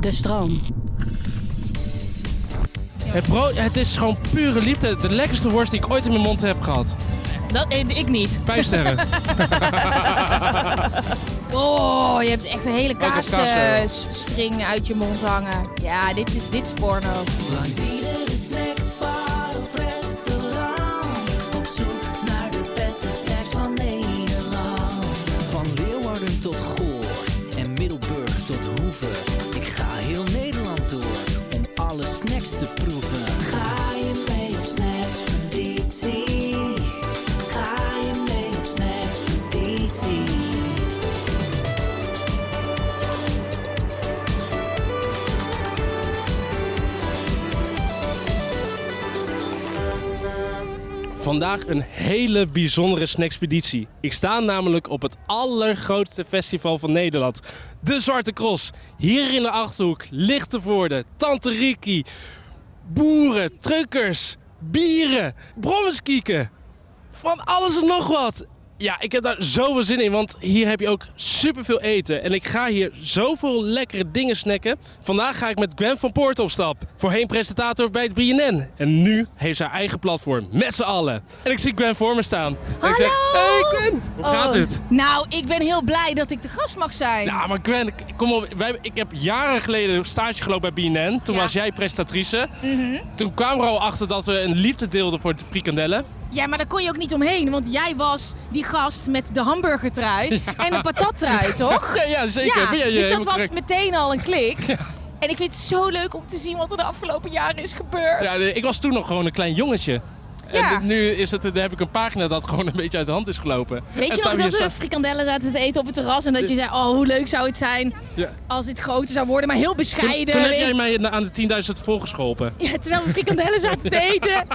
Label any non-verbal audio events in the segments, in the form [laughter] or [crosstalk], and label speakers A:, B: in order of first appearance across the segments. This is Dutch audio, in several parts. A: de stroom.
B: Het brood, het is gewoon pure liefde. De lekkerste worst die ik ooit in mijn mond heb gehad.
C: Dat, eh, ik niet.
B: Vijf sterren.
C: Oh, je hebt echt een hele
B: Uit de kaas, eh.
C: kaasstring uit je mond hangen. Ja, dit is, dit is porno.
D: Langs iedere snackbar of restaurant. Op zoek naar de beste snacks van Nederland.
E: Van Leeuwarden tot Goor en Middelburg tot Hoeve. Ik ga heel Nederland door om alle snacks te proeven.
D: Ga je mee op snackspeditie? Ga je mee op snackspeditie?
B: Vandaag een hele bijzondere snackspeditie. Ik sta namelijk op het allergrootste festival van Nederland. De Zwarte Cross. Hier in de Achterhoek, Lichtenvoorde, Tante Riki. Boeren, truckers, bieren, brommerskieken. Van alles en nog wat. Ja, ik heb daar zoveel zin in, want hier heb je ook superveel eten. En ik ga hier zoveel lekkere dingen snacken. Vandaag ga ik met Gwen van Poort op stap. Voorheen presentator bij het BNN. En nu heeft ze haar eigen platform, met z'n allen. En ik zie Gwen voor me staan. En ik zeg,
C: Hallo!
B: hey Gwen, hoe gaat
C: Oh,
B: het? Nou.
C: Nou, ik ben heel blij dat ik de gast mag zijn.
B: Ja, maar Gwen, k- kom op. Wij, ik heb jaren geleden stage gelopen bij BNN. Toen
C: Ja. Mhm.
B: was jij presentatrice. Toen kwamen we al achter dat we een liefde deelden voor de frikandellen.
C: Ja, maar daar kon je ook niet omheen, want jij was die gast met de hamburgertrui
B: [laughs]
C: en een patattrui, toch?
B: Ja, ja zeker. Ben jij, eh,
C: dus dat
B: helemaal
C: was
B: correct?
C: meteen al een klik. En ik vind het zo leuk om te zien wat er de afgelopen jaren is gebeurd.
B: Ja, nee, ik was toen nog gewoon een klein jongetje.
C: Ja.
B: En nu is het, dan heb ik een pagina dat gewoon een beetje uit de hand is gelopen.
C: Weet
B: En
C: je
B: staan
C: nog
B: we
C: dat
B: hier
C: we frikandellen zaten te eten op het terras en dat je zei, oh hoe leuk zou het zijn
B: Ja.
C: als dit groter zou worden, maar heel
B: sta-
C: bescheiden.
B: Toen, toen heb
C: weet-
B: jij mij na- aan de 10.000 volgers geholpen.
C: [laughs] Ja, terwijl we frikandellen
B: [laughs]
C: zaten te eten.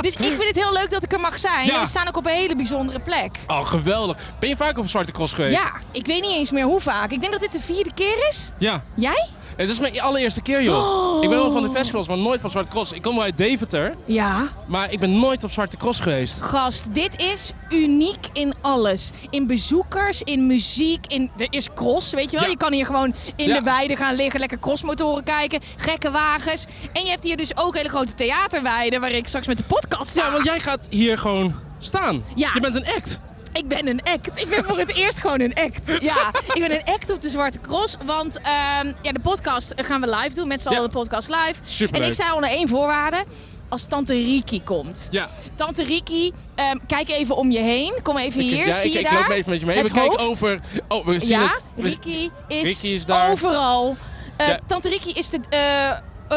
C: Dus ik vind het heel leuk dat ik er mag zijn.
B: Ja.
C: En we staan ook op een hele bijzondere plek.
B: Oh, geweldig. Ben je vaak op Zwarte Cross geweest?
C: Ja, ik weet niet eens meer hoe vaak. Ik denk dat dit de vierde keer is.
B: Ja.
C: Jij?
B: Het is mijn allereerste keer, joh.
C: Oh.
B: Ik ben wel van de festivals, maar nooit van Zwarte Cross. Ik kom wel uit Deventer,
C: Ja.
B: maar ik ben nooit op Zwarte Cross geweest.
C: Gast, dit is uniek in alles. In bezoekers, in muziek, in, er is cross, weet je wel.
B: Ja.
C: Je kan hier gewoon in
B: Ja.
C: de weide gaan liggen, lekker crossmotoren kijken, gekke wagens. En je hebt hier dus ook hele grote theaterweiden waar ik straks met de podcast sta.
B: Ja, want jij gaat hier gewoon staan.
C: Ja.
B: Je bent een act.
C: Ik ben een act. Ik ben voor het eerst gewoon een act. Ja, ik ben een act op de Zwarte Cross. Want ehm, ja, de podcast gaan we live doen. Met z'n
B: Ja.
C: allen de podcast live.
B: Superleuk.
C: En ik zei onder één voorwaarde. Als Tante Riki komt.
B: Ja.
C: Tante Riki, ehm, kijk even om je heen. Kom even
B: Ik-
C: hier.
B: ja,
C: Zie
B: ik,
C: je
B: ik
C: daar?
B: loop even met je mee.
C: Het
B: we kijken
C: hoofd.
B: over... Oh, we zien
C: Ja,
B: het. We-
C: Riki is,
B: Riki is daar.
C: overal. Eh,
B: Ja.
C: Tante Riki is de eh, eh,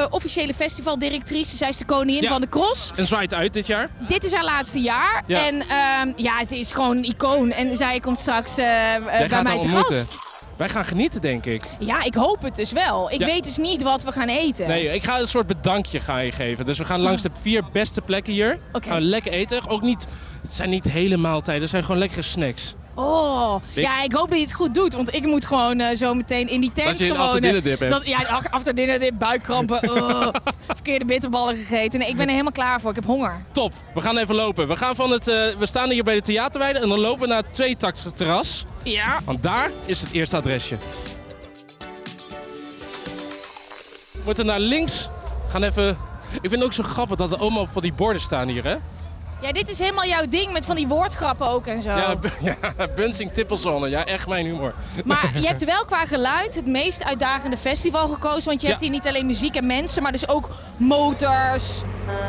C: officiële festivaldirectrice. Zij is de koningin
B: Ja.
C: van de cross.
B: En zwaait uit dit jaar.
C: Dit is haar laatste jaar.
B: Ja.
C: En ehm, ja, ze is gewoon een icoon. En zij komt straks eh,
B: Jij
C: eh, bij
B: gaat
C: mij
B: haar
C: te
B: ontmoeten.
C: gast.
B: Wij gaan genieten, denk ik.
C: Ja, ik hoop het dus wel. Ik
B: Ja.
C: weet dus niet wat we gaan eten.
B: Nee, ik ga een soort bedankje gaan je geven. Dus we gaan langs de vier beste plekken hier.
C: Oh. Oké.
B: Gaan we lekker eten. Ook niet, het zijn niet hele maaltijden, het zijn gewoon lekkere snacks.
C: Oh,
B: Ik-
C: ja, ik hoop dat je het goed doet. Want ik moet gewoon eh, zo meteen in die tent
B: Dat je een
C: gewoon... eh,
B: afterdinnerdip hebt.
C: Dat, ja, een afterdinnerdip,
B: [laughs]
C: buikkrampen. oh, verkeerde bitterballen gegeten. Nee, ik ben er helemaal klaar voor. Ik heb honger.
B: Top, we gaan even lopen. We, gaan van het, eh, we staan hier bij de theaterweide en dan lopen we naar het tweetakterras.
C: Ja.
B: Want daar is het eerste adresje. We moeten naar links. We gaan even... Ik vind het ook zo grappig dat er allemaal van die borden staan hier, hè?
C: Ja, dit is helemaal jouw ding met van die woordgrappen ook en zo.
B: Ja, [laughs] b- ja Bunsing Tippelzone. Ja, echt mijn humor. [laughs]
C: Maar je hebt wel qua geluid het meest uitdagende festival gekozen. Want je hebt
B: Ja.
C: hier niet alleen muziek en mensen, maar dus ook motors,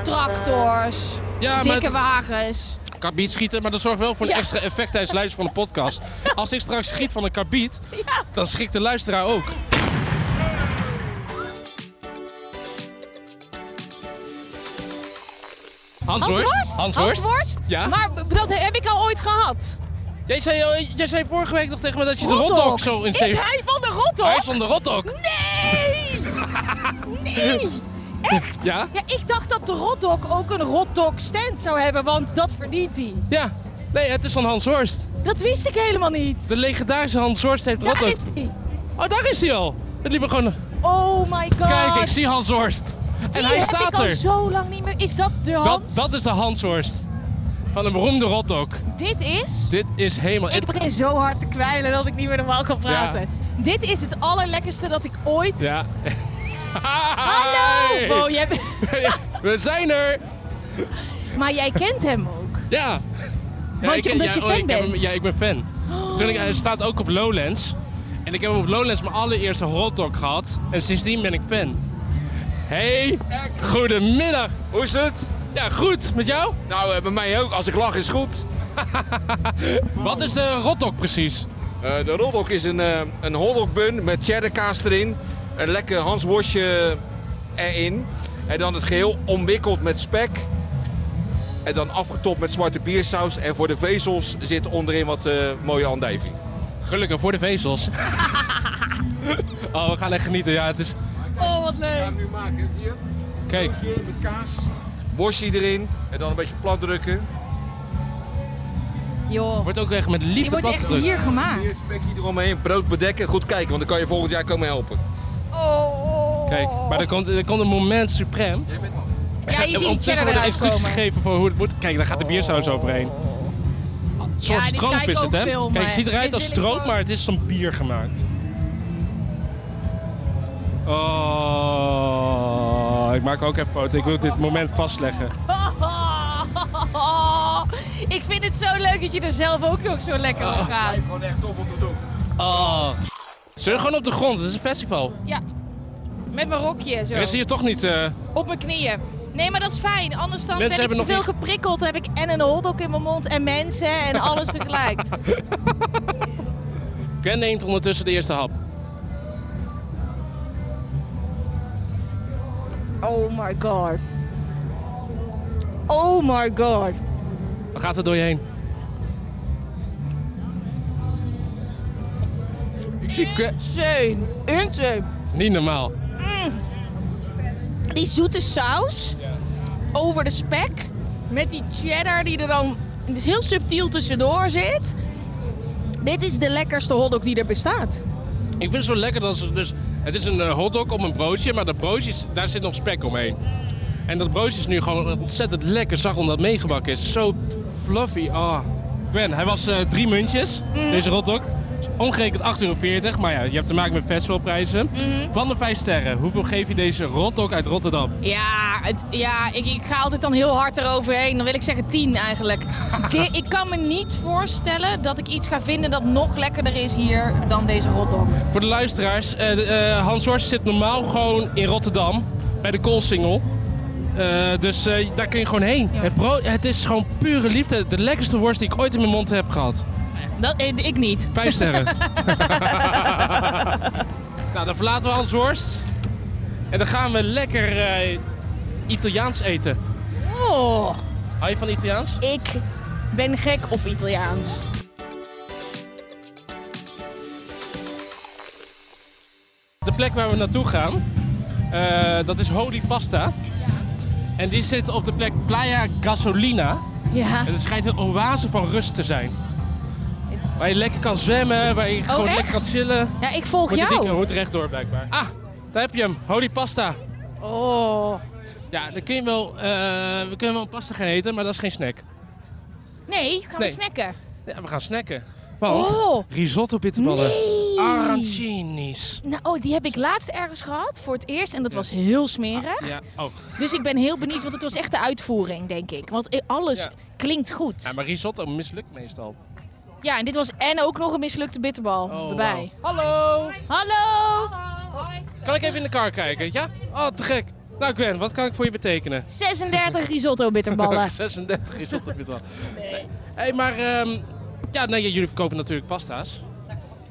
C: tractors,
B: Ja, maar
C: dikke
B: het-
C: wagens.
B: Karbiet schieten, maar dat zorgt wel voor een
C: Ja.
B: extra effect tijdens het luisteren van de
C: [laughs]
B: podcast. Als ik straks schiet van een karbiet, dan schrikt de luisteraar ook. Hans Worst?
C: Hans
B: Worst?
C: Worst?
B: Ja.
C: Maar b- dat heb ik al ooit gehad.
B: Jij, zei, eh, jij zei vorige week nog tegen me dat je de
C: Rothok.
B: rotok zo in
C: Is
B: zeven-
C: hij Hmm? van de Rothok?
B: Hij is van de rotok.
C: Nee! nee! [laughs] Echt?
B: Ja?
C: ja, ik dacht dat de Rothok ook een Rothok stand zou hebben, want dat verdient hij.
B: Ja. Nee, het is van Hans Horst.
C: Dat wist ik helemaal niet.
B: De legendarische Hans Horst heeft
C: Daar
B: rotok.
C: is hij.
B: Oh, daar is hij al. Het liep er gewoon...
C: Oh my god.
B: Kijk, ik zie Hans Horst. En
C: Die
B: hij
C: heb
B: staat
C: ik al
B: er.
C: zo lang niet meer. Is dat de hand?
B: Dat, dat is de Hanshorst. Van een beroemde rotok.
C: Dit is.
B: Dit is helemaal...
C: Ik begin zo hard te kwijlen dat ik niet meer normaal kan praten. Dit is het allerlekkerste dat ik ooit
B: Ja. [laughs]
C: Hallo!
B: Hi. [laughs]
C: Bo, jij bent-
B: We zijn er!
C: Maar jij kent hem ook.
B: Ja! ja
C: Want je- omdat je
B: ja, oh,
C: fan
B: ik heb hem-
C: bent. Oh.
B: ja, ik ben fan. Toen ik, hij staat ook op Lowlands. En ik heb op Lowlands mijn allereerste hotdog gehad. En sindsdien ben ik fan. Hey, goedemiddag.
A: Hoe is het?
B: Ja, goed. Met jou?
A: Nou, eh, bij mij ook. Als ik lach is goed.
B: Wat is de hotdog precies?
A: Eh, de roddok is een, eh een hotdogbun met cheddarkaas erin. Een lekker hansworstje erin. En dan het geheel omwikkeld met spek. En dan afgetopt met zwarte biersaus. En voor de vezels zit onderin wat eh, mooie andijvie.
B: Gelukkig voor de vezels. [laughs] oh, we gaan echt genieten. Ja, het is...
C: Oh, wat leuk.
A: nu maken. Hier,
B: Kijk,
A: met kaas. Worstje erin. En dan een beetje plat drukken.
C: Joh,
B: wordt ook echt met
C: je
B: liefde
C: wordt echt
B: platgedrukt.
C: hier gemaakt.
A: Hier spekje eromheen. Brood bedekken. Goed kijken, want dan kan je volgend jaar komen helpen.
C: Oh.
B: Kijk, maar er komt, er komt een moment suprem. [laughs]
C: Ja, je ziet
B: Ondertussen
C: cheddar
B: wordt er
C: eruit
B: instructies
C: komen.
B: gegeven voor hoe het moet. Kijk, daar gaat de biersaus overheen. Een soort
C: Ja, die ga
B: stroop
C: ik
B: is het,
C: ook
B: hè?
C: filmen.
B: Kijk, het ziet eruit
C: Dit
B: als
C: wil ik
B: stroop,
C: gewoon.
B: maar het is van bier gemaakt. Oh, ik maak ook even een foto. Ik wil dit moment vastleggen.
C: [laughs] Ik vind het zo leuk dat je er zelf ook nog zo lekker op
B: Ah.
C: gaat.
A: Gewoon echt tof om te doen.
B: Oh. Zullen we gewoon op de grond? Het is een festival.
C: Ja, met mijn rokje zo.
B: Er is hier toch niet... eh,
C: Op mijn knieën. Nee, maar dat is fijn. Anders
B: Mensen
C: dan ben ik
B: hebben
C: te veel
B: nog
C: geprikkeld. Dan heb ik en een hotdog in mijn mond en mensen
B: [laughs]
C: en alles tegelijk.
B: Ken neemt ondertussen de eerste hap.
C: Oh my god. Oh my god.
B: Dan gaat het door je heen. Ik zie... que-
C: Insane. Insane.
B: Niet normaal.
C: Die zoete saus over de spek. Met die cheddar die er dan het is heel subtiel tussendoor zit. Dit is de lekkerste hotdog die er bestaat.
B: Ik vind het zo lekker dat ze dus... Het is een eh, hotdog op een broodje, maar dat broodje, is- daar zit nog spek omheen. En dat broodje is nu gewoon ontzettend lekker zacht omdat het meegebakken is. Zo fluffy. Ah. Ben, hij was eh, drie muntjes, deze hotdog. Is Omgerekend 8,40 euro, maar ja, je hebt te maken met festivalprijzen. Van de vijf sterren, hoeveel geef je deze hotdog uit Rotterdam?
C: Ja, het, ja ik, ik ga altijd dan heel hard eroverheen. Dan wil ik zeggen 10 [laughs] eigenlijk. Di- ik kan me niet voorstellen dat ik iets ga vinden dat nog lekkerder is hier dan deze hotdog.
B: Voor de luisteraars, eh, de, eh, Hans Horst zit normaal gewoon in Rotterdam bij de Koolsingel. Eh, dus eh, daar kun je gewoon heen.
C: Ja.
B: Het, brood, het is gewoon pure liefde. De lekkerste worst die ik ooit in mijn mond heb gehad.
C: Dat, eh, ik niet.
B: Vijf sterren. [laughs] nou, dan verlaten we Hans Horst. En dan gaan we lekker eh, Italiaans eten.
C: Oh,
B: Hou je van Italiaans?
C: ik ben gek op Italiaans.
B: De plek waar we naartoe gaan, eh, dat is Holy Pasta. En die zit op de plek Playa Gasolina.
C: Ja.
B: En het schijnt een oase van rust te zijn. Waar je lekker kan zwemmen, waar je gewoon
C: Oh, echt?
B: lekker kan chillen.
C: Ja, ik volg
B: Moet, je dik,
C: jou.
B: moet rechtdoor blijkbaar. Ah, daar heb je hem. Holy pasta.
C: Oh.
B: Ja, dan kun je wel, eh, we kunnen wel een pasta gaan eten, maar dat is geen snack.
C: Nee, gaan we
B: Nee.
C: snacken.
B: Ja, we gaan snacken. Want
C: Oh.
B: risotto bitterballen.
C: Nee.
B: Arancinis.
C: Nou, oh, die heb ik laatst ergens gehad voor het eerst en dat was heel smerig.
B: Ja, oh.
C: Dus ik ben heel benieuwd, want het was echt de uitvoering, denk ik. Want eh, alles
B: Ja.
C: klinkt goed.
B: ja, maar risotto mislukt meestal.
C: Ja, en dit was en ook nog een mislukte bitterbal
B: Oh,
C: erbij.
B: Hallo.
C: Hallo!
B: Kan ik even in de kar kijken? Ja? Oh, te gek. Nou Gwen, wat kan ik voor je betekenen?
C: 36
B: [laughs]
C: risotto bitterballen.
B: 36 is dat op
F: [laughs]
B: wel. Hé, hey, maar ehm, ja, nee, jullie verkopen natuurlijk pasta's.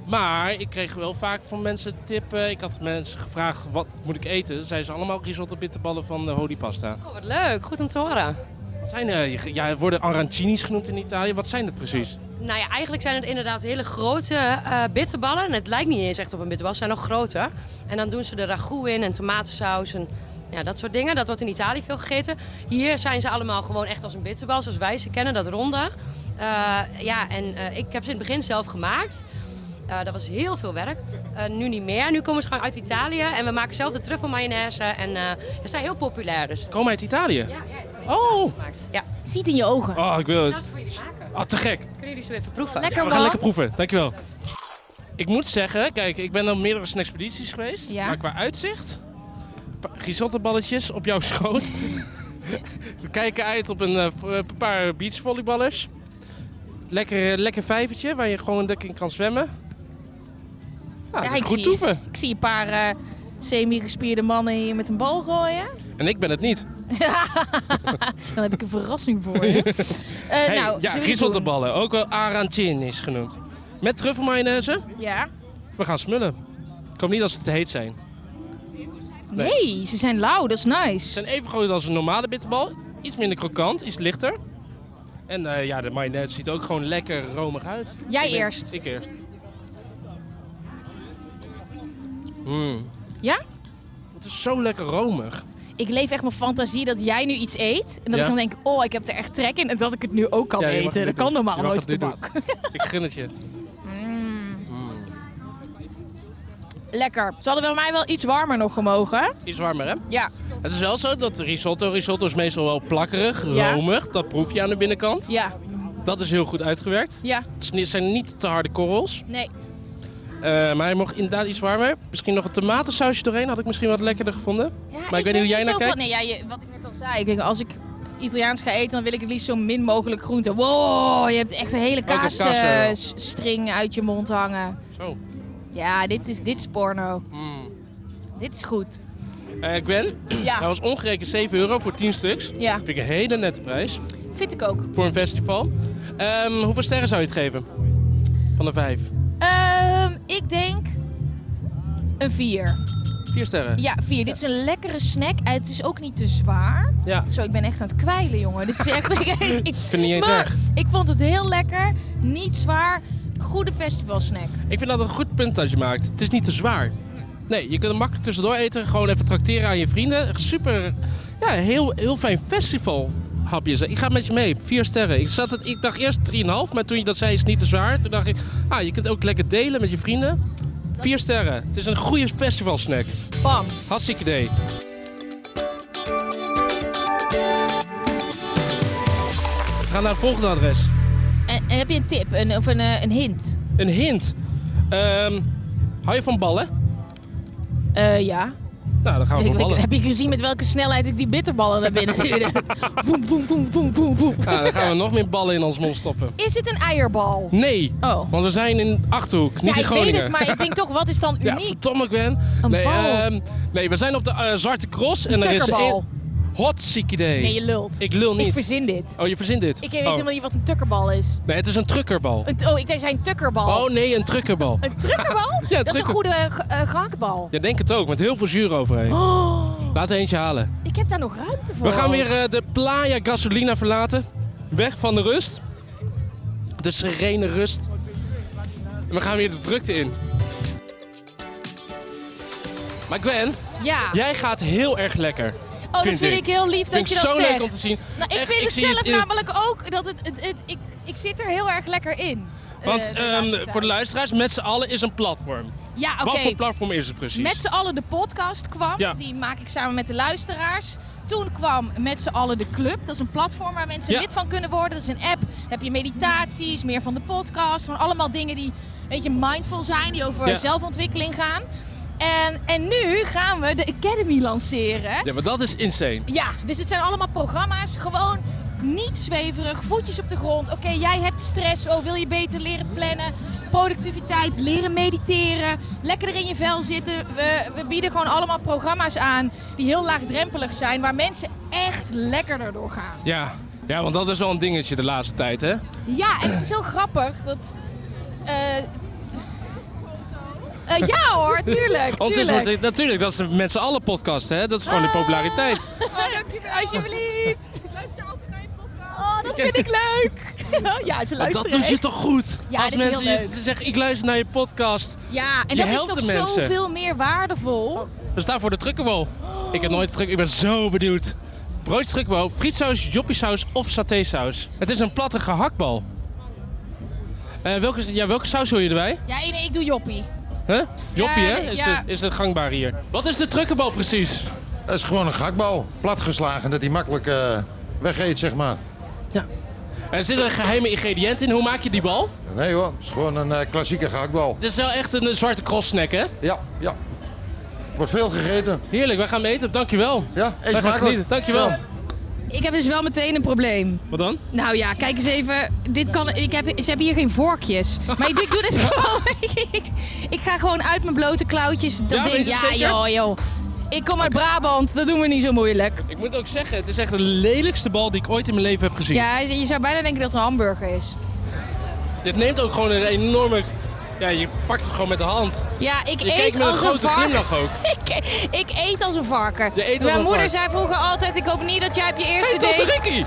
B: Maar ik kreeg wel vaak van mensen tippen. Ik had mensen gevraagd, wat moet ik eten? Dan zeiden ze allemaal risotto bitterballen van de Holy Pasta.
F: Oh, wat leuk. Goed om te horen.
B: Wat zijn eh, je- ja, worden arancinis genoemd in Italië. Wat zijn dat precies?
F: Nou ja, eigenlijk zijn het inderdaad hele grote eh, bitterballen. En het lijkt niet eens echt op een bitterbal, ze zijn nog groter. En dan doen ze er ragout in en tomatensaus en ja, dat soort dingen. Dat wordt in Italië veel gegeten. Hier zijn ze allemaal gewoon echt als een bitterbal, zoals wij ze kennen, dat ronde. Eh, ja, en eh, ik heb ze in het begin zelf gemaakt. Eh, dat was heel veel werk. Eh, nu niet meer. Nu komen ze gewoon uit Italië. En we maken zelf de truffelmayonaise. En eh, ze zijn heel populair. Dus
B: Komen uit Italië?
F: ja, ja, het wordt
B: Oh!
F: gemaakt. Ja,
C: Ziet in je ogen.
B: Oh, ik wil
F: ik ga
B: het.
F: ze voor jullie maken.
B: Oh, te gek.
F: Kunnen jullie ze weer verproeven?
C: Lekker
B: We
C: man.
B: gaan lekker proeven. Dankjewel. Ik moet zeggen, kijk, ik ben op meerdere expedities geweest.
C: Ja.
B: Maar qua uitzicht pa- risottoballetjes op jouw schoot. [laughs] We kijken uit op een eh, v- eh, paar beachvolleyballers. Lekker, eh, lekker vijvertje waar je gewoon lekker in kan zwemmen. Ja, het
C: Ja,
B: is
C: ik
B: goed
C: zie-
B: toeven.
C: Ik zie een paar eh, semi-gespierde mannen hier met een bal gooien.
B: En ik ben het niet.
C: Dan heb ik een verrassing
B: [laughs]
C: voor je. Eh
B: Hey,
C: nou,
B: ja,
C: zullen we
B: risottoballen, ook wel arancin is genoemd. Met truffelmayonaise.
C: doen? Ja.
B: We gaan smullen. Ik hoop niet dat ze te heet zijn.
C: Nee. ze zijn lauw, dat is nice.
B: Ze zijn even groot als een normale bitterbal. Iets minder krokant, iets lichter. En eh, ja, de mayonaise ziet er ook gewoon lekker romig uit.
C: Jij
B: Ik ben-
C: eerst.
B: Ik eerst. Mm.
C: Ja? Oh,
B: Het is zo lekker romig.
C: Ik leef echt mijn fantasie dat jij nu iets eet. En dat
B: Ja.
C: ik dan denk, oh, ik heb er echt trek in. En dat ik het nu ook kan
B: Ja, je mag het
C: eten.
B: nu
C: Dat
B: doen.
C: kan normaal
B: Je mag
C: nooit op de
B: het nu
C: bak. [laughs]
B: Ik gun het je.
C: Lekker. Ze hadden bij mij wel iets warmer nog gemogen.
B: Iets warmer, hè?
C: Ja.
B: Het is wel zo dat risotto, risotto is meestal wel plakkerig,
C: Ja.
B: romig. Dat proef je aan de binnenkant.
C: Ja.
B: Dat is heel goed uitgewerkt.
C: Ja.
B: Het is niet- het zijn niet te harde korrels.
C: Nee.
B: Eh, maar hij mocht inderdaad iets warmer. Misschien nog een tomatensausje doorheen. Had ik misschien wat lekkerder gevonden.
C: Ja,
B: weet niet
C: ben
B: hoe jij
C: mezelf
B: naar
C: wel- Nee, ja, je- wat ik net al zei. Ik denk, als ik Italiaans ga eten, dan wil ik het liefst zo min mogelijk groente. Wow, je hebt echt een hele
B: dat kaas, eh,
C: kaasstring uit je mond hangen.
B: Zo.
C: Ja, dit is, dit is porno.
B: Hmm.
C: Dit is
B: [clears throat]
C: goed.
B: Eh, Gwen, [clears throat] dat
C: Ja,
B: was ongerekend 7 euro voor 10 stuks.
C: ja.
B: Vind ik een hele nette prijs
C: vind ik ook.
B: voor een festival. Ehm, hoeveel sterren zou je het geven? Van de vijf.
C: Ehm, ik denk een vier.
B: Vier sterren.
C: Ja, vier. Dit is een lekkere snack. En Het is ook niet te zwaar.
B: Ja,
C: Zo, ik ben echt aan het kwijlen, jongen. Dit is
B: [laughs]
C: echt... [laughs] ik, ik,
B: ik vind het niet eens
C: maar
B: erg.
C: ik vond het heel lekker. Niet zwaar. Goede festivalsnack.
B: Ik vind dat een goed punt dat je maakt. Het is niet te zwaar. Nee, je kunt het makkelijk tussendoor eten. Gewoon even trakteren aan je vrienden. Echt Super, ja, heel, heel fijn festival. Hapjes. Ik ga met je mee. Vier sterren. Ik, zat het, ik dacht eerst 3,5, maar toen je dat zei is het niet te zwaar. Toen dacht ik, ah, je kunt ook lekker delen met je vrienden. Vier sterren. Het is een goede festivalsnack.
C: Bam.
B: Hartstikke idee. We gaan naar het volgende adres.
C: En, en heb je een tip een, of een, eh, een hint?
B: Een hint. Ehm, hou je van ballen?
C: Eh, ja.
B: Nou, dan gaan we
C: Ik-
B: voor
C: ik-
B: ballen. [laughs]
C: heb je gezien met welke snelheid ik die bitterballen naar binnen duwde? voem, voem, voem, voem, voem, voem.
B: Ja, Nou, dan gaan we nog meer ballen in ons mond stoppen.
C: Is dit een eierbal?
B: Nee,
C: Oh.
B: want we zijn in Achterhoek, niet
C: ja,
B: in
C: ik weet
B: Groningen.
C: het, maar ik denk toch, wat is dan
B: [laughs] Ja,
C: uniek?
B: verdomme Gwen.
C: Een
B: nee,
C: bal.
B: ehm, nee, we zijn op de eh, Zwarte Cross en er is
C: tukkerbal.
B: een hot ziek idee.
C: Nee, je lult.
B: Ik lul
C: Ik
B: niet.
C: verzin dit.
B: Oh, je verzint dit?
C: Ik weet
B: oh.
C: helemaal niet wat een tukkerbal is.
B: Nee, het is een truckerbal.
C: Een, oh, ik denk zijn tukkerbal.
B: Oh nee, een truckerbal.
C: Een
B: [laughs]
C: trukkerbal?
B: Ja,
C: dat is een
B: trucker.
C: goede eh, ge- eh, gehaktbal.
B: Ja, denk het ook, met heel veel zuur overheen.
C: Oh,
B: Laat er eentje halen.
C: ik heb daar nog ruimte voor.
B: We gaan weer eh, de Playa Gasolina verlaten. Weg van de rust. De serene rust. En we gaan weer de drukte in. Maar Gwen,
C: Ja.
B: Jij gaat heel erg lekker.
C: oh, dat vind ik, heel lief dat
B: Vind
C: je
B: ik
C: dat
B: zo
C: zegt.
B: leuk om te zien.
C: Nou, ik
B: Echt,
C: vind het
B: zie
C: zelf
B: in-
C: namelijk ook. Dat het, het, het- ik, ik zit er heel erg lekker in. eh,
B: Want
C: de
B: ehm,
C: laatste tijd.
B: voor de luisteraars, met z'n allen is een platform.
C: Ja, oké.
B: Wat voor platform is het precies?
C: Met z'n allen de podcast kwam.
B: Ja.
C: Die maak ik samen met de luisteraars. Toen kwam met z'n allen de club. Dat is een platform waar mensen
B: Ja.
C: lid van kunnen worden. Dat is een app. Dan heb je meditaties, meer van de podcast. Gewoon allemaal dingen die een beetje mindful zijn. Die over
B: Ja.
C: zelfontwikkeling gaan. En, en nu gaan we de Academy lanceren.
B: Ja, maar dat is insane.
C: Ja, dus het zijn allemaal programma's. Gewoon niet zweverig, voetjes op de grond. Oké, jij hebt stress. Oh, wil je beter leren plannen? Productiviteit, leren mediteren, lekkerder in je vel zitten. We, we bieden gewoon allemaal programma's aan die heel laagdrempelig zijn, waar mensen echt lekkerder door gaan.
B: Ja. ja, want dat is wel een dingetje de laatste tijd, hè?
C: Ja, en het is heel grappig dat. eh, t- eh, ja
B: [laughs]
C: hoor, tuurlijk.
B: Ondertussen
C: tuurlijk. Ah.
B: wordt- natuurlijk, dat is de met z'n allen podcast, hè? Dat is gewoon de
C: [laughs]
B: populariteit.
C: Alsjeblieft. Oh, Ik luister altijd naar je podcast. Oh, dat vind ik leuk. [laughs] ja, ze
B: Maar
C: luisteren
B: dat doe
C: echt.
B: je toch goed?
C: Ja,
B: Als
C: dat is heel
B: mensen
C: leuk.
B: je te zeggen, ik luister naar je podcast.
C: Ja, en
B: Je
C: dat is
B: helpt
C: nog
B: de mensen.
C: zoveel meer waardevol.
B: We staan voor de truckerbal. Ik heb nooit truck. Ik ben zo benieuwd. Broodje truckerbal, frietsaus, joppiesaus of satésaus. Het is een platte gehaktbal. Eh, welke, ja, welke saus wil je erbij?
C: Ja, nee, nee, ik doe joppie.
B: Huh? Joppie,
C: Ja,
B: hè?
C: de-
B: Is,
C: ja.
B: het, is het gangbaar hier? Wat is de truckerbal precies?
G: Dat is gewoon een gakbal, platgeslagen, dat hij makkelijk eh wegeet, zeg maar.
B: Er zit een geheime ingrediënt in. Hoe maak je die bal?
G: Nee hoor, het is gewoon een eh, klassieke gakbal.
B: Dit is wel echt een eh, zwarte cross snack, hè?
G: Ja, ja. Wordt veel gegeten.
B: Heerlijk, wij gaan mee eten. Dankjewel.
G: Ja, eet
B: Wij gaan
G: smakelijk.
B: genieten. Dankjewel.
G: Ja.
C: Ik heb dus wel meteen een probleem.
B: Wat dan?
C: Nou ja, kijk eens even. Dit kan, ik heb, ze hebben hier geen vorkjes. Maar ik doe, ik doe [laughs] dit gewoon. ik, ik ga gewoon uit mijn blote klauwtjes. Dat
B: Ja,
C: ding-
B: weet je het
C: ja
B: zeker?
C: joh, joh. Ik kom uit Brabant, dat doen we niet zo moeilijk.
B: Ik moet ook zeggen, het is echt de lelijkste bal die ik ooit in mijn leven heb gezien.
C: Ja, je zou bijna denken dat het een hamburger is.
B: Dit neemt ook gewoon een enorme... Ja, je pakt het gewoon met de hand.
C: Ja, ik
B: Je
C: eet
B: kijkt met een
C: als een
B: grote
C: varken.
B: glimlach ook.
C: [laughs] Ik, ik eet als een varken.
B: Je eet als
C: Mijn
B: een
C: moeder
B: varken.
C: zei vroeger altijd, ik hoop niet dat jij op je
B: Hey,
C: eerste
B: Tante
C: date...
B: Rikkie!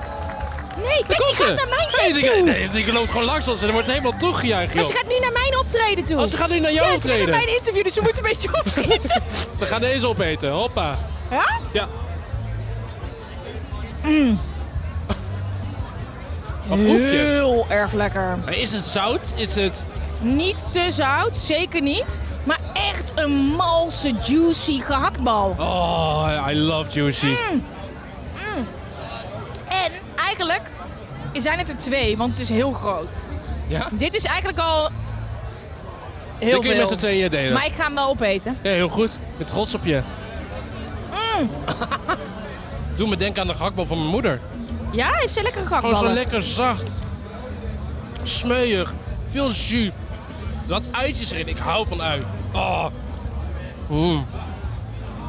C: Nee, kijk,
B: Daar
C: die
B: komt ze!
C: gaat naar mijn
B: Nee,
C: date
B: die-
C: toe.
B: Nee, die loopt gewoon langs ons en er wordt helemaal toegejuicht,
C: Maar
B: joh.
C: ze gaat nu naar mijn optreden toe.
B: Oh, ze gaat nu naar jou
C: ja, ze gaat
B: optreden.
C: naar mijn interview, dus ze moet een beetje [laughs] opschieten.
B: Ze gaan deze opeten, hoppa.
C: ja?
B: Ja. Wat proef je?
C: Mm. Heel erg lekker.
B: Maar Is het zout? Is het...
C: Niet te zout, zeker niet. Maar echt een malse, juicy gehaktbal.
B: Oh, I love juicy.
C: Mm. En eigenlijk zijn het er twee, want het is heel groot.
B: Ja?
C: Dit is eigenlijk al
B: Dan
C: heel
B: kun je met
C: veel.
B: z'n tweeën delen.
C: Maar ik ga hem wel opeten.
B: Ja, heel goed. Ik ben trots op je.
C: Mm.
B: [laughs] Doe me denken aan de gehaktbal van mijn moeder.
C: Ja, heeft ze lekker
B: Gewoon zo
C: gehaktballen.
B: lekker zacht. Smeuig. Veel jus. Wat uitjes erin. Ik hou van ui. Oh. Mm.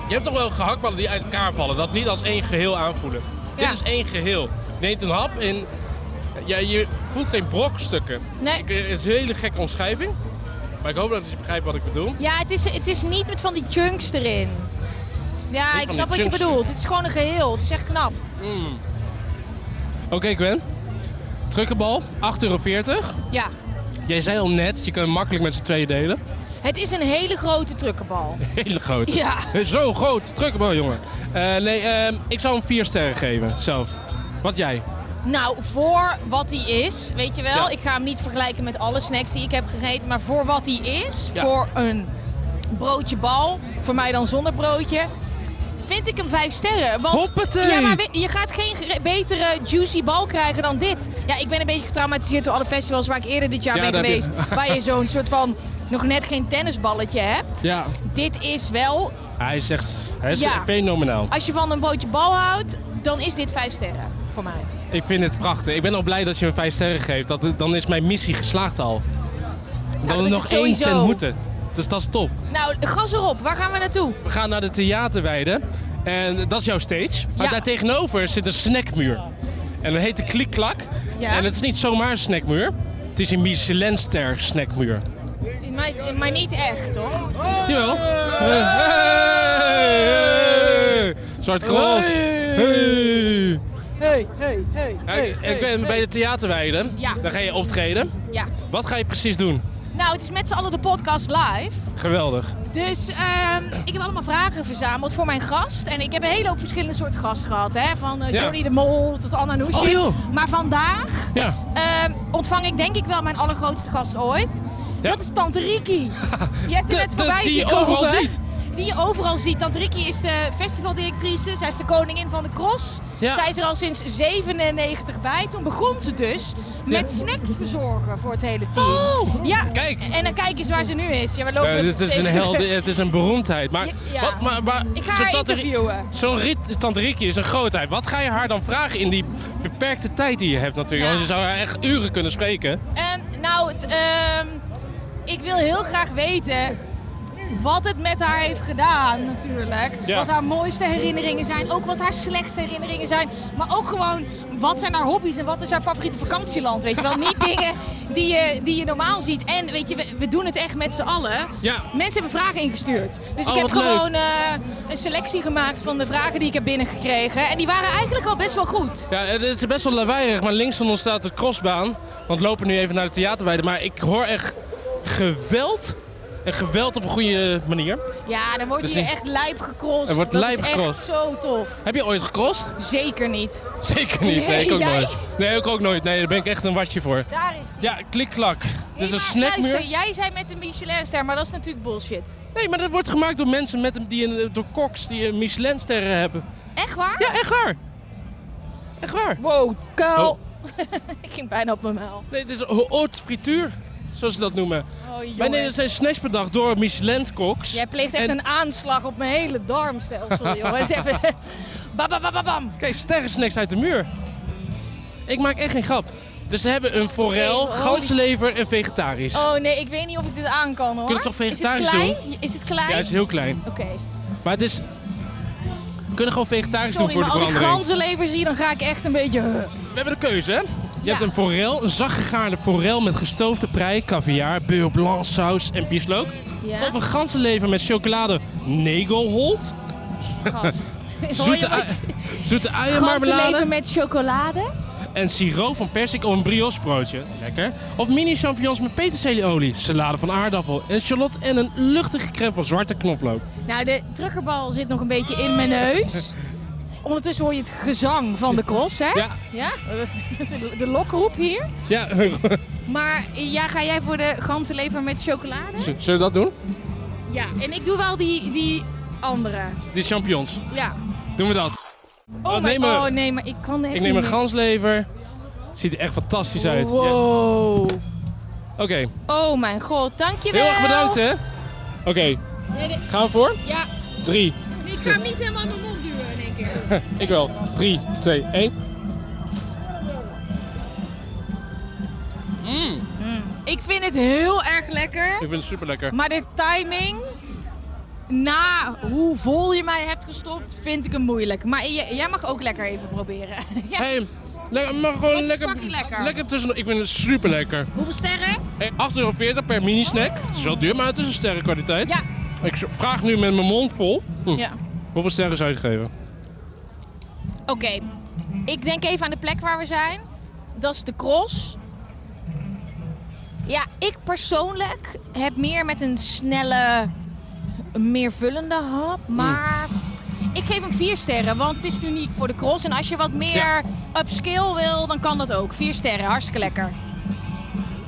B: Je hebt toch wel gehaktballen die uit elkaar vallen. Dat niet als één geheel aanvoelen.
C: Ja.
B: Dit is één geheel. Je neemt een hap en ja, je voelt geen brokstukken.
C: Nee.
B: Ik- eh, Het is een hele gekke omschrijving. Maar ik hoop dat je begrijpt wat ik bedoel.
C: Ja, het is, het is niet met van die chunks erin. Ja,
B: Niet
C: ik
B: van
C: snap wat
B: die
C: je
B: chunks
C: bedoelt. Het is gewoon een geheel. Het is echt knap.
B: Oké Gwen. Trukkenbal, 8,40 euro.
C: Ja.
B: Jij zei al net, je kunt hem makkelijk met z'n tweeën delen. [laughs]
C: Het is een hele grote truckenbal.
B: Hele grote.
C: Ja.
B: [laughs] Zo groot, trukkenbal jongen. Eh, nee, ehm, ik zou hem vier sterren geven, zelf. Wat jij?
C: Nou, voor wat hij is, weet je wel.
B: Ja.
C: Ik ga hem niet vergelijken met alle snacks die ik heb gegeten. Maar voor wat hij is,
B: Ja.
C: voor een broodje bal, voor mij dan zonder broodje, vind ik hem vijf sterren. Want,
B: Hoppatee!
C: Ja, maar we- je gaat geen gere- betere juicy bal krijgen dan dit. Ja, ik ben een beetje getraumatiseerd door alle festivals waar ik eerder dit jaar
B: Ja,
C: ben
B: daar heb je-
C: geweest. Waar je zo'n soort van nog net geen tennisballetje hebt.
B: Ja.
C: Dit is wel,
B: Hij is echt hij is
C: Ja.
B: fenomenaal.
C: als je van een broodje bal houdt, dan is dit vijf sterren voor mij.
B: Ik vind het prachtig. Ik ben al blij dat je hem vijf sterren geeft. Dat, dan is mijn missie geslaagd al.
C: dat
B: dan
C: is
B: er nog
C: het
B: één
C: sowieso.
B: tent moeten. Dus dat is top.
C: Nou, gas erop. Waar gaan we naartoe?
B: We gaan naar de theaterweide. En dat is jouw stage. Maar
C: Ja.
B: daar tegenover zit een snackmuur. En dat heet de Klikklak.
C: Ja.
B: En het is niet zomaar een snackmuur. Het is een Michelinster snackmuur.
C: Maar, maar niet echt hoor.
B: Jawel. Hey. Hey. Zwart Cross.
C: Hey.
B: Hey.
C: Hey, hey, hey.
B: Ja,
C: hey,
B: ik-
C: hey,
B: ik ben
C: hey.
B: bij de theaterweide.
C: Ja.
B: Daar ga je optreden.
C: Ja.
B: Wat ga je precies doen?
C: Nou, het is met z'n allen de podcast live.
B: Geweldig.
C: Dus ehm, ik heb allemaal vragen verzameld voor mijn gast. En ik heb een hele hoop verschillende soorten gasten gehad. Hè? Van eh,
B: Ja.
C: Johnny de Mol tot Anna
B: Oh,
C: Noesje.
B: joh.
C: maar vandaag
B: Ja.
C: ehm, ontvang ik denk ik wel mijn allergrootste gast ooit.
B: Ja.
C: Dat is Tante
B: [laughs]
C: Riki. Je hebt
B: De-
C: er net
B: de-
C: voorbij
B: die
C: zien
B: je overal
C: komen.
B: ziet.
C: Die je overal ziet. Tante Riki is de festivaldirectrice. Zij is de koningin van de cross.
B: Ja.
C: Zij is er al sinds 97 bij. Toen begon ze dus met snacks verzorgen voor het hele team. Ja,
B: Oh! Kijk.
C: en dan kijk eens waar ze nu is. Ja, we lopen
B: Eh, dit is een
C: tegen-
B: held,
C: [laughs]
B: het is een beroemdheid. Maar,
C: Ja.
B: wat, maar, maar
C: Ik ga
B: zo'n
C: haar
B: tante Ri-
C: interviewen.
B: Zo'n rit- Tante Rikkie is een grootheid. Wat ga je haar dan vragen in die beperkte tijd die je hebt natuurlijk?
C: Ja.
B: Want je zou haar echt uren kunnen spreken.
C: Ehm, nou, het, ehm, ik wil heel graag weten wat het met haar heeft gedaan natuurlijk.
B: Ja.
C: Wat haar mooiste herinneringen zijn. Ook wat haar slechtste herinneringen zijn. Maar ook gewoon wat zijn haar hobby's en wat is haar favoriete vakantieland. Weet je wel,
B: [laughs]
C: niet dingen die je, die je normaal ziet. En weet je, we, we doen het echt met z'n allen.
B: Ja.
C: Mensen hebben vragen ingestuurd. Dus
B: Oh,
C: ik heb
B: wat leuk.
C: gewoon eh, een selectie gemaakt van de vragen die ik heb binnengekregen. En die waren eigenlijk al best wel goed.
B: Ja, het is best wel lawaaierig, maar links van ons staat de crossbaan. Want we lopen nu even naar de theaterweide. Maar ik hoor echt geweld. En geweld op een goede manier.
C: Ja, dan wordt
B: Dus
C: hier
B: niet-
C: echt lijp gecrossed.
B: Er wordt
C: dat
B: lijp
C: is
B: gecrossed.
C: echt zo tof.
B: Heb je ooit gecrossed? [laughs]
C: Zeker niet.
B: Zeker niet. Nee,
C: Nee,
B: ik ook
C: jij?
B: nooit. Nee, ik ook nooit. Nee, daar ben ik echt een watje voor.
C: Daar is
B: Ja, klikklak. Het is een
C: Luister,
B: snackmuur.
C: jij zei met een Michelinster, maar dat is natuurlijk bullshit.
B: Nee, maar dat wordt gemaakt door mensen met, een- die, een- door koks die een Michelinsterren hebben.
C: Echt waar?
B: Ja, echt waar. Echt waar.
C: Wow, kuil.
B: Oh.
C: [laughs] ik ging bijna op mijn muil.
B: Nee, het is haute frituur. zoals ze dat noemen.
C: Oh,
B: Wij
C: jongens.
B: nemen zijn snacks per dag door Michelin-koks.
C: Jij pleegt echt
B: En-
C: een aanslag op mijn hele
B: [laughs]
C: darmstelsel, jongen. Het is even... Bam, bam, bam, bam, bam.
B: Kijk, sterrensnacks uit de muur. Ik maak echt geen grap. Dus ze hebben een forel,
C: holy
B: ganslever en vegetarisch.
C: Oh nee, ik weet niet of ik dit aan kan hoor.
B: Kun je toch vegetarisch
C: is het klein? Is het klein?
B: Ja, het is heel klein.
C: Oké.
B: Maar het is... We kunnen gewoon vegetarisch
C: Sorry,
B: doen
C: maar
B: voor de
C: als ik
B: verandering.
C: ganzenlever zie, dan ga ik echt een beetje... eh.
B: We hebben de keuze, hè? Je
C: Ja.
B: hebt een forel, een zachtgegaarde forel met gestoofde prei, caviar, beurre blanc, saus en bieslook.
C: Ja,
B: Of een ganzenlever met chocolade negelholt,
C: gast. Hoor je
B: [laughs] zoete,
C: wat?
B: ui- zoete uienmarmelade
C: Ganzenlever met chocolade?
B: en siroop van persik of een briochebroodje. Lekker. Of mini champignons met peterselieolie, salade van aardappel en shallot en een luchtige crème van zwarte knoflook.
C: Nou, de drukkerbal zit nog een beetje in mijn neus. Ondertussen hoor je het gezang van de cross, hè?
B: Ja,
C: Ja? De lokroep hier.
B: ja. [laughs]
C: Maar ja, ga jij voor de ganzenlever met chocolade?
B: Z- Zullen we dat doen?
C: Ja, en ik doe wel die, die andere.
B: Die champignons.
C: Ja.
B: Doen we dat.
C: Oh,
B: Oh,
C: my-
B: neem een-
C: oh nee, maar ik kan echt
B: Ik neem een
C: niet
B: ganslever. Ziet er echt fantastisch
C: meer.
B: uit. Ja.
C: Wow.
B: Oké,
C: Oh mijn god, dankjewel.
B: heel erg bedankt hè. Oké,
C: Nee, nee,
B: gaan we voor?
C: ja,
B: Drie.
C: ik ga hem niet helemaal in mijn mond duwen in
B: [laughs]
C: één keer.
B: Ik wel. 3, 2, 1.
C: Ik vind het heel erg lekker.
B: Ik vind het super lekker.
C: Maar de timing, na hoe vol je mij hebt gestopt, vind ik hem moeilijk. Maar j- jij mag ook lekker even proberen. [laughs] Ja.
B: Hey, lekker, maar gewoon
C: is
B: lekker.
C: fucking lekker.
B: Lekker tussen. Ik vind het super lekker.
C: Hoeveel sterren?
B: 8,40 euro per mini-snack. Het is wel duur, maar het is een sterrenkwaliteit.
C: Ja.
B: Ik z- vraag nu met mijn mond vol. Hm,
C: ja.
B: Hoeveel sterren zou je het geven?
C: Oké, ik denk even aan de plek waar we zijn. Dat is de cross. Ja, ik persoonlijk heb meer met een snelle, meer vullende hap.
B: Mm.
C: Maar ik geef hem vier sterren, want het is uniek voor de cross. En als je wat meer
B: Ja.
C: upscale wil, dan kan dat ook. Vier sterren, hartstikke lekker.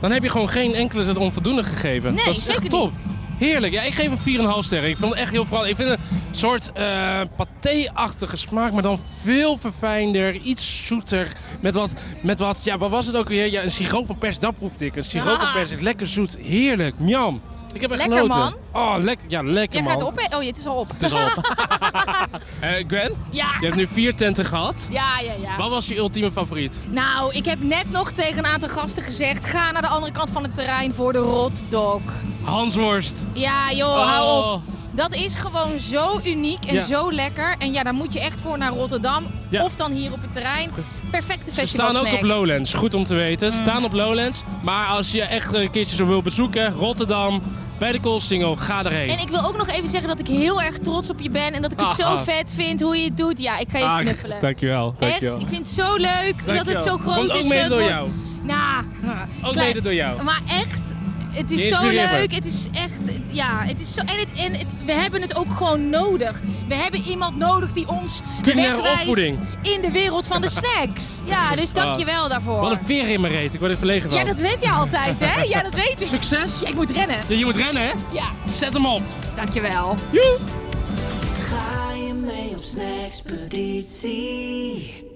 B: Dan heb je gewoon geen enkele zet onvoldoende gegeven.
C: Nee,
B: dat is
C: zeker
B: echt top.
C: niet.
B: Heerlijk. Ja, ik geef hem 4,5 sterren. Ik vond het echt heel vooral. Ik vind het een soort eh paté-achtige smaak, maar dan veel verfijnder, iets zoeter. Met wat, met wat, ja, wat was het ook weer? Ja, een siroop van pers, dat proefde ik. Een siroop van
C: Ah.
B: pers, lekker zoet, heerlijk, miam. Ik heb echt
C: Lekker,
B: genoten.
C: man.
B: Oh, lekker, ja, lekker
C: Jij
B: man.
C: gaat op. hè? Oh, het is al op.
B: Het is al op.
C: [laughs]
B: Eh, Gwen,
C: Ja.
B: je hebt nu vier tenten gehad.
C: Ja, ja, ja.
B: Wat was je ultieme favoriet?
C: Nou, ik heb net nog tegen een aantal gasten gezegd: ga naar de andere kant van het terrein voor de rotdog.
B: Hansworst.
C: Ja, joh, Oh, hou op. Dat is gewoon zo uniek en
B: Oh. Ja.
C: zo lekker. En ja, daar moet je echt voor naar Rotterdam.
B: Ja.
C: Of dan hier op het terrein.
B: Ze
C: Perfecte
B: staan ook
C: festivalsnack.
B: op Lowlands, goed om te weten.
C: Mm.
B: Ze staan op Lowlands, maar als je echt een keertje zo wil bezoeken, Rotterdam, bij de Koolsingel, ga erheen.
C: En ik wil ook nog even zeggen dat ik heel erg trots op je ben. En dat ik het
B: Ah,
C: zo
B: ah.
C: vet vind hoe je het doet. Ja, ik ga je even knuffelen.
B: Dankjewel,
C: Echt, ik vind het zo leuk dat het zo groot
B: Komt
C: is.
B: ook mede
C: dat
B: door
C: wordt-
B: jou.
C: Nou, nou,
B: [laughs] Ook
C: klein-
B: mede door jou.
C: Maar echt, het
B: Je
C: is zo
B: inspireert me.
C: leuk. Het is echt, het- ja, het is zo. En, het, en het- we hebben het ook gewoon nodig. We hebben iemand nodig die ons de
B: Culinaire
C: weg wijst
B: opvoeding. Ah.
C: in de wereld
B: [laughs]
C: van de snacks. Ja, dus dank je wel daarvoor.
B: Wat een veer in mijn reet, ik word er verlegen van.
C: Ja, dat weet jij altijd, hè? Ja, dat weet ik.
B: Succes.
C: Ja, ik moet rennen.
B: Ja, je moet rennen, hè?
C: Ja,
B: Zet hem op.
C: dankjewel.
D: Ga je mee op snackspeditie?